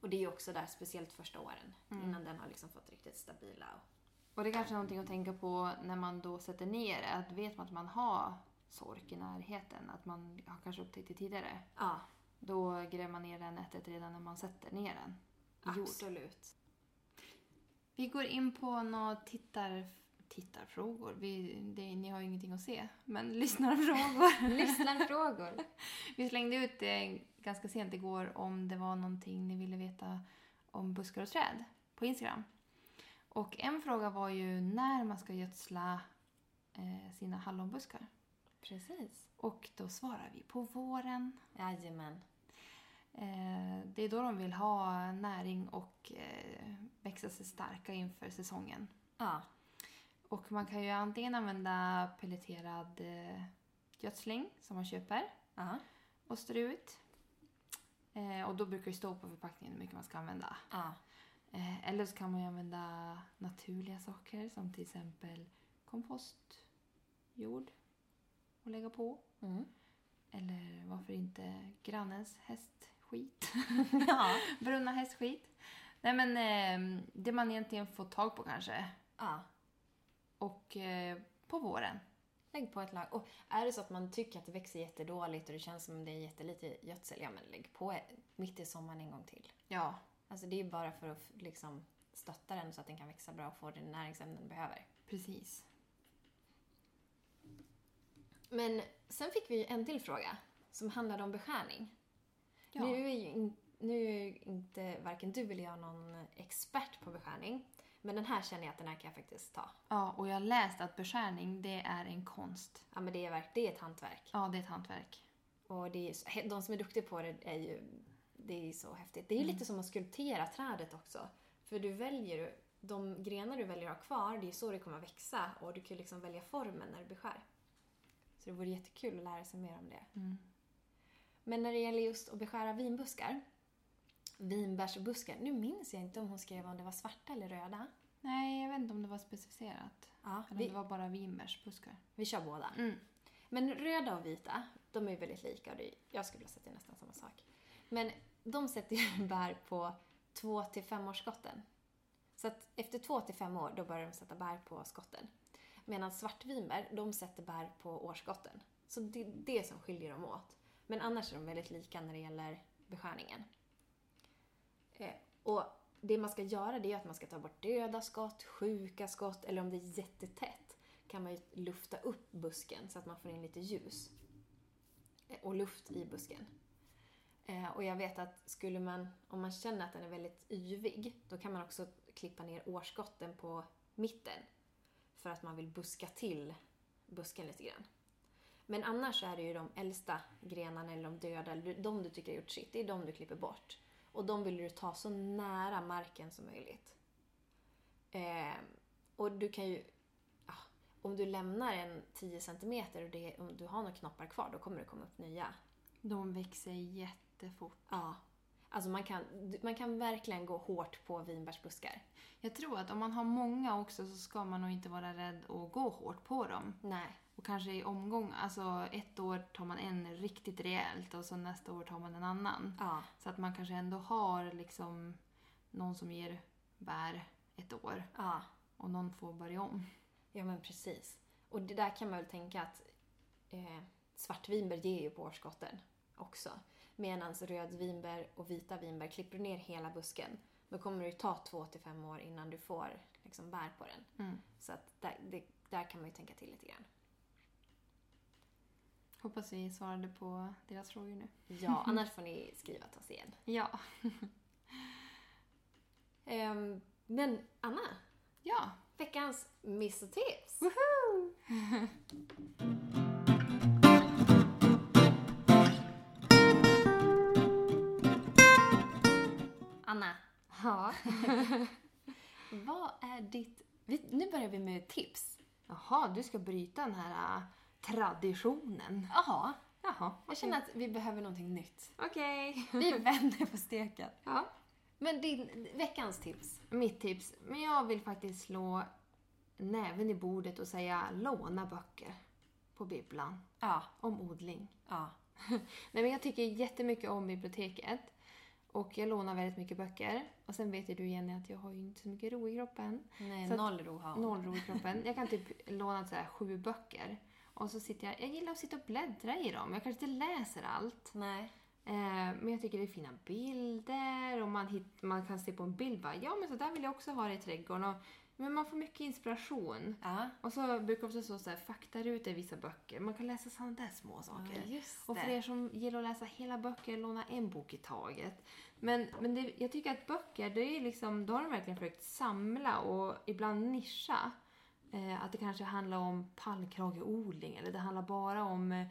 Och det är ju också där, speciellt första åren, innan den har liksom fått riktigt stabila och
Och det är kanske är någonting att tänka på när man då sätter ner det. Att vet man att man har sork i närheten, att man har kanske upptäckt det tidigare.
Ja,
Då gräver man ner det här nätet redan när man sätter ner den i jord.
absolut.
Vi går in på några tittar, tittarfrågor. Vi, det, ni har ju ingenting att se, men lyssnarfrågor.
Lyssnarfrågor.
Vi slängde ut det ganska sent igår om det var någonting ni ville veta om buskar och träd på Instagram. Och en fråga var ju när man ska gödsla eh, sina hallonbuskar.
Precis.
Och då svarar vi på våren.
Jajamän.
Eh, det är då de vill ha näring och eh, växa sig starka inför säsongen.
Ja.
Och man kan ju antingen använda pelleterad eh, gödsling som man köper
Ja.
och strö ut. Eh, och då brukar det stå på förpackningen hur mycket man ska använda.
Ja.
Eh, eller så kan man ju använda naturliga saker som till exempel kompostjord och lägga på.
Mm.
Eller varför inte grannens hästskit?
Ja.
Brunna hästskit. Nej men eh, det man egentligen får tag på kanske.
ja.
Och eh, på våren.
Lägg på ett lag. Och är det så att man tycker att det växer jättedåligt och det känns som det är jättelite gödsel, ja men lägg på ett- mitt i sommaren en gång till.
Ja.
Alltså det är ju bara för att f- liksom stötta den så att den kan växa bra och få de näringsämnen den behöver.
Precis.
Men sen fick vi ju en till fråga som handlade om beskärning.
Ja.
Nu, är ju in, nu är ju inte varken du eller jag någon expert på beskärning. Men den här känner jag att den här kan jag faktiskt ta.
ja, och jag har läst att beskärning det är en konst.
Ja men det är, verk, det är ett hantverk.
Ja, det är ett hantverk.
Och det är, så- he- de som är duktiga på det är ju det är ju så häftigt. Det är ju lite som att skulptera trädet också. För du väljer ju- de grenar du väljer att ha kvar, det är så det kommer att växa och du kan ju liksom välja formen när du beskär. Så det vore jättekul att lära sig mer om det.
Mm.
Men när det gäller just att beskära vinbuskar, vinbärsbuskar, nu minns jag inte om hon skrev om det var svarta eller röda.
Nej, jag vet inte om det var specificerat.
Ja,
Eller om det
vi,
var bara vinbärsbuskar.
vi kör båda.
Mm.
Men röda och vita, de är väldigt lika och det, jag skulle vilja säga att det är nästan samma sak. Men de sätter ju bär på 2 till 5 års skotten. Så att efter 2 till 5 år, då börjar de sätta bär på skotten. Medan svartvinbär, de sätter bär på årsskotten. Så det är det som skiljer dem åt. Men annars är de väldigt lika när det gäller beskärningen. Eh, och det man ska göra det är att man ska ta bort döda skott, sjuka skott eller om det är jättetätt kan man ju lufta upp busken så att man får in lite ljus eh, och luft i busken. Eh, Och jag vet att skulle man, om man känner att den är väldigt yvig, då kan man också klippa ner årskotten på mitten för att man vill buska till busken lite grann. Men annars så är det ju de äldsta grenarna eller de döda, eller de du tycker har gjort sitt, det är de du klipper bort. Och de vill du ta så nära marken som möjligt. Eh, och du kan ju... Ja, om du lämnar en 10 cm och det, om du har några knoppar kvar, då kommer det komma upp nya.
De växer jättefort.
Ja. Alltså man kan, du- man kan verkligen gå hårt på vinbärsbuskar.
Jag tror att om man har många också så ska man nog inte vara rädd och gå hårt på dem.
Nej.
Och kanske i omgång, alltså ett år tar man en riktigt rejält och så nästa år tar man en annan.
Ja.
Så att man kanske ändå har liksom någon som ger bär ett år
Ja.
och någon får börja om.
Ja men precis. Och det där kan man väl tänka att eh, svartvinbär ger ju på årsskotten också. Medan rödvinbär och vita vinbär, klipper du ner hela busken då kommer det ju ta två till fem år innan du får liksom, bär på den.
Mm.
Så att där, det, där kan man ju tänka till lite grann.
Hoppas vi svarade på deras frågor nu.
Ja, annars får ni skriva till oss igen.
Ja.
Ehm, men Anna,
Ja.
veckans miss och tips. Anna,
Ja.
vad är ditt... vi- Nu börjar vi med tips.
Jaha, du ska bryta den här äh, traditionen.
Jaha,
Jaha.
jag känner att vi behöver någonting nytt.
Okej.
Vi vänder på steken.
Ja.
Men din, veckans tips.
Mitt tips. Men jag vill faktiskt slå näven i bordet och säga låna böcker på bibblan
Ja.
om odling.
Ja.
Nej, men jag tycker jättemycket om biblioteket. Och jag lånar väldigt mycket böcker. Och sen vet ju du Jenny att jag har ju inte så mycket ro i kroppen.
Nej,
Så att-
noll ro har hon.
Noll ro i kroppen. Jag kan typ låna så här sju böcker. Och så sitter jag, jag gillar att sitta och bläddra i dem. Jag kanske inte läser allt.
Nej.
Eh, men jag tycker det är fina bilder och man, hitt, man kan se på en bild bara, ja men så där vill jag också ha det i trädgården. Och, men man får mycket inspiration.
Ja.
Och så brukar det också stå så här, faktarutor i vissa böcker. Man kan läsa sådana där små saker.
Ja, just
Och för
det.
er som gillar att läsa hela böcker, låna en bok i taget. Men, men det, jag tycker att böcker, det är liksom, då har de verkligen försökt samla och ibland nischa. Eh, att det kanske handlar om pallkrageodling eller det handlar bara om eh,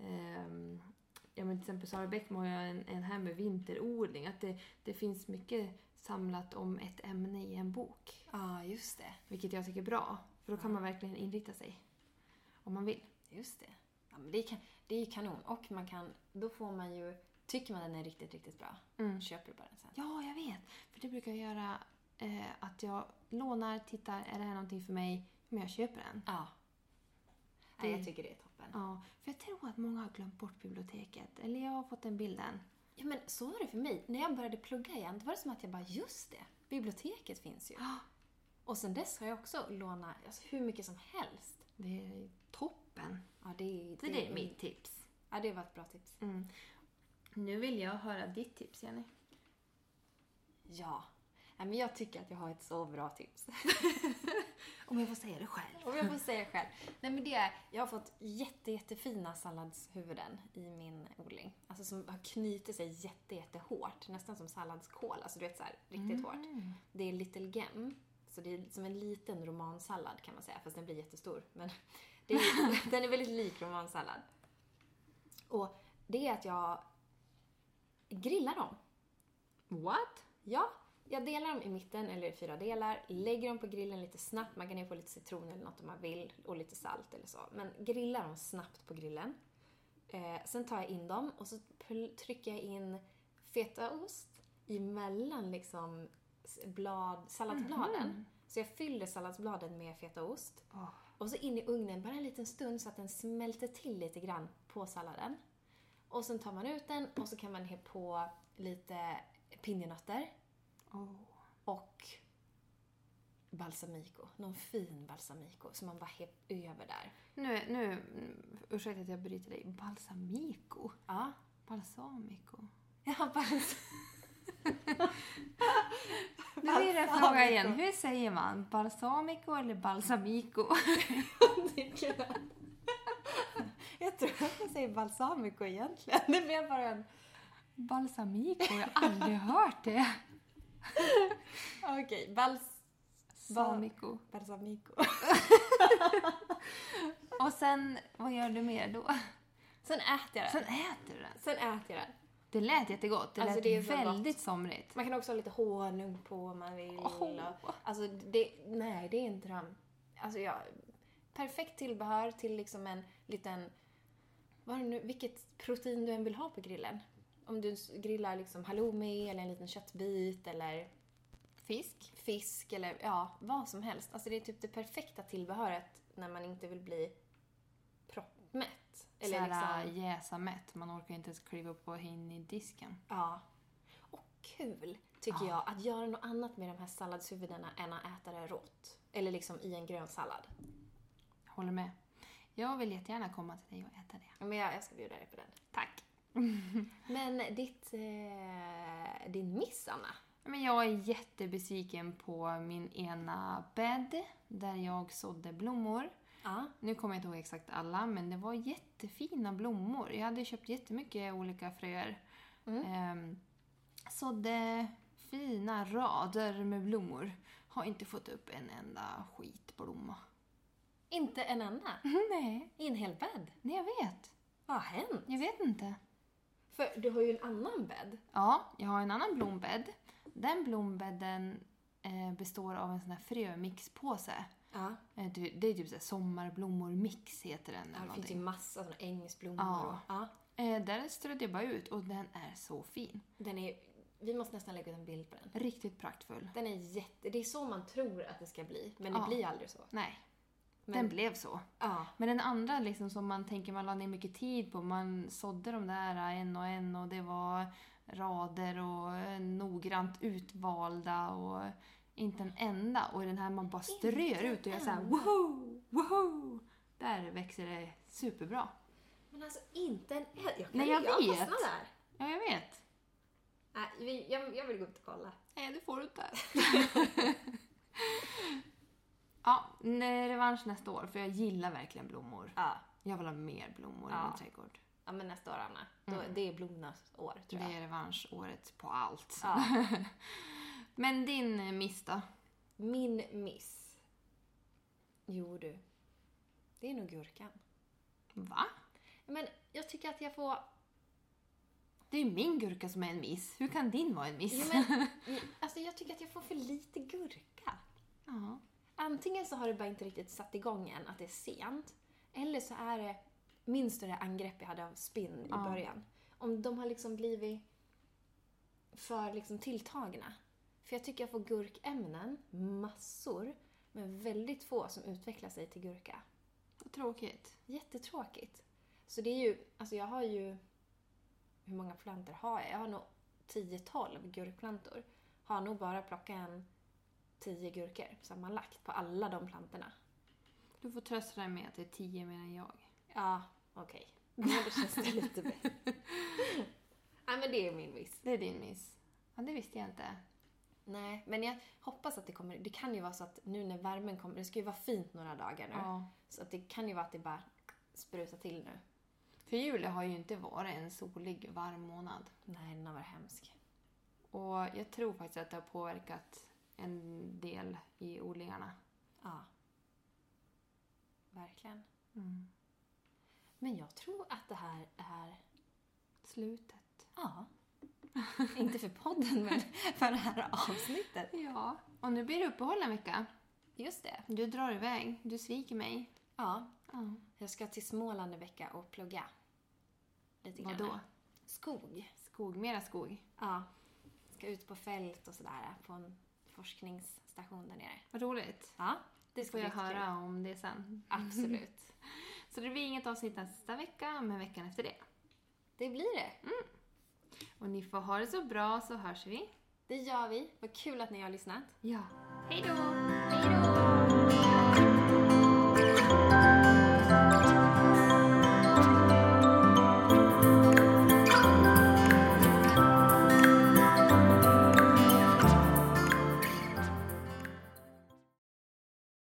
ehm, Ja, men till exempel Sara Bäckman har ju en, en här med vinterodling. Att det, det finns mycket samlat om ett ämne i en bok.
Ja, just det.
Vilket jag tycker är bra. För då kan man verkligen inrikta sig. Om man vill.
Just det. Ja, men det, är, kan- det är ju kanon. Och man kan, då får man ju, tycker man den är riktigt, riktigt bra,
Mm.
köper du bara den sen.
Ja, jag vet. För det brukar jag göra eh, att jag lånar, tittar, är det här någonting för mig? Men jag köper den.
Ja. Nej, jag tycker det är toppen.
Ja, för jag tror att många har glömt bort biblioteket. Eller jag har fått den bilden.
Ja, men så var det för mig. När jag började plugga igen, då var det som att jag bara, just det! Biblioteket finns ju.
Ja.
Och sen dess har jag också lånat alltså, hur mycket som helst.
Det är toppen.
Ja, det, är-
Så det är mitt tips. Mm.
Ja, det var ett bra tips.
Nu vill jag höra ditt tips, Jenny.
Ja. Nej, men jag tycker att jag har ett så bra tips.
Om jag får säga det själv.
Om jag får säga själv. Nej men det är, jag har fått jätte, jättefina salladshuvuden i min odling. Alltså som har knutit sig jätte, jättehårt. Nästan som salladskål. Alltså du vet såhär, riktigt
Mm.
hårt. Det är Little Gem. Så det är som en liten romansallad kan man säga. Fast den blir jättestor. Men det är, den är väldigt lik romansallad. Och det är att jag grillar dem.
What?
Ja, jag delar dem i mitten eller i fyra delar, lägger dem på grillen lite snabbt. Man kan ju få lite citron eller något om man vill och lite salt eller så. Men grillar dem snabbt på grillen. Eh, sen tar jag in dem och så pl- trycker jag in fetaost emellan liksom s- blad, salladsbladen.
Mhm.
Så jag fyller salladsbladen med fetaost.
Mm-hmm. Åh.
Och så in i ugnen bara en liten stund så att den smälter till lite grann på salladen. Och sen tar man ut den och så kan man he på lite pinjenötter
Oh.
och balsamico. Någon fin balsamico som man bara hep över där.
Nu, nu, mm, ursäkta att jag bryter dig. Balsamico?
Ja.
Balsamico?
Ja, bals-
Nu blir det en
Balsamico.
fråga igen. Hur säger man? Balsamico eller balsamico?
jag tror att man säger balsamico egentligen. Det blev bara en...
Balsamico? Jag har aldrig hört det.
Okej, bals...
Balsamico.
Balsamico.
Och sen, vad gör du mer då?
Äh. Sen äter jag den.
Sen äter du den.
Sen äter jag den.
Det lät jättegott. Det
Alltså,
lät
det är så
väldigt somrigt.
Man kan också ha lite honung på om man vill.
Åh.
Och, alltså, det, nej, det är en dröm. Alltså, ja, perfekt tillbehör till liksom en liten... Vad är det nu, vilket protein du än vill ha på grillen. Om du s- grillar liksom halloumi eller en liten köttbit eller
Fisk?
fisk eller ja, vad som helst. Alltså det är typ det perfekta tillbehöret när man inte vill bli proppmätt. Eller
Såhär
liksom,
jäsa mätt. Man orkar inte ens kliva upp och in i disken.
ja. Och kul, tycker jag, att göra något annat med de här salladshuvudena än att äta det rått. Eller liksom i en grön sallad.
Håller med. Jag vill jättegärna komma till dig och äta det.
Men jag, jag ska bjuda dig på den.
Tack.
Men ditt, eh, din miss, Anna?
Men jag är jättebesviken på min ena bädd där jag sådde blommor.
Ja.
Nu kommer jag inte ihåg exakt alla, men det var jättefina blommor. Jag hade köpt jättemycket olika fröer.
Mm.
Ehm, sådde fina rader med blommor. Har inte fått upp en enda skitblomma.
Inte en enda?
Nej,
I en hel bädd?
nej jag vet.
Vad har hänt?
Jag vet inte.
För du har ju en annan bädd.
Ja, jag har en annan blombädd. Den blombädden eh, består av en sån här frömixpåse.
Ja.
Eh, du- Det är typ såhär sommarblommor-mix heter den.
Ja,
eller
det finns ju
någonting. Eh,
massa såna ängsblommor.
Ja.
och- Ja.
Där strödde jag bara ut och den är så fin.
Den är, vi måste nästan lägga ut en bild på den.
Riktigt praktfull.
Den är jätte, det är så man tror att det ska bli, men
Ja.
det blir aldrig så.
Nej,
Men,
den blev så.
ja.
Men den andra liksom som man tänker man la ner mycket tid på, man sådde de där en och en och det var rader och eh, noggrant utvalda och inte en enda. Och den här man bara strör
en
ut och jag såhär
enda.
wow, wow! Där växer det superbra.
Men alltså inte en jag kan-
Nej, jag vet.
fastnar där.
Ja, jag vet.
Nej, vi- jag, jag vill gå ut och kolla.
Nej, det får du inte. ja, nej, revansch nästa år för jag gillar verkligen blommor.
Ja.
Jag vill ha mer blommor i
Ja.
min trädgård.
ja, men nästa år Anna. Då, Det är blommornas år tror jag.
Det är revanschåret på allt.
Ja.
Men din eh, miss då?
Min miss. Jo du. Det är nog gurkan.
Va?
Men jag tycker att jag får...
Det är ju min gurka som är en miss. Hur kan din vara en miss?
Jo, men, alltså, jag tycker att jag får för lite gurka.
Ja.
Antingen så har det bara inte riktigt satt igång än, att det är sent. Eller så är det... Minns du det angrepp jag hade av spinn i
Ja.
början? Om de har liksom blivit för liksom tilltagna. För jag tycker jag får gurkämnen, massor, men väldigt få som utvecklar sig till gurka.
Vad tråkigt.
Jättetråkigt. Så det är ju, alltså jag har ju, hur många plantor har jag? Jag har nog 10-12 gurkplantor. Har nog bara plockat en 10 gurkor sammanlagt på alla de plantorna.
Du får trösta dig med att det är tio mer än jag.
Ja, okej. Okay. Då känns det lite bättre. Nej men det är min miss.
Det är din miss. Ja, det visste jag inte.
Nej, men jag hoppas att det kommer. Det kan ju vara så att nu när värmen kommer, det ska ju vara fint några dagar nu.
Ja.
Så att det kan ju vara att det bara sprutar till nu.
För juli har ju inte varit en solig, varm månad.
Nej, den har varit hemsk.
Och jag tror faktiskt att det har påverkat en del i odlingarna.
Ja. Verkligen. Mm. Men jag tror att det här är...
Slutet.
Ja. Inte för podden, men för det här avsnittet.
Ja. Och nu blir det uppehåll en vecka.
Just det.
Du drar iväg. Du sviker mig.
Ja.
Ja.
Jag ska till Småland i vecka och plugga. Lite grann.
Vadå?
Skog.
Skog. Mera skog.
Ja. Ska ut på fält och sådär på en forskningsstation där nere.
Vad roligt.
Ja.
Det
ska
får
bli
jag
jättekul.
höra om det sen.
Absolut.
Så det blir inget avsnitt nästa vecka, men veckan efter det.
Det blir det.
Och ni får ha det så bra så hörs vi.
Det gör vi. Vad kul att ni har lyssnat.
Ja. Hej då!
Hej då!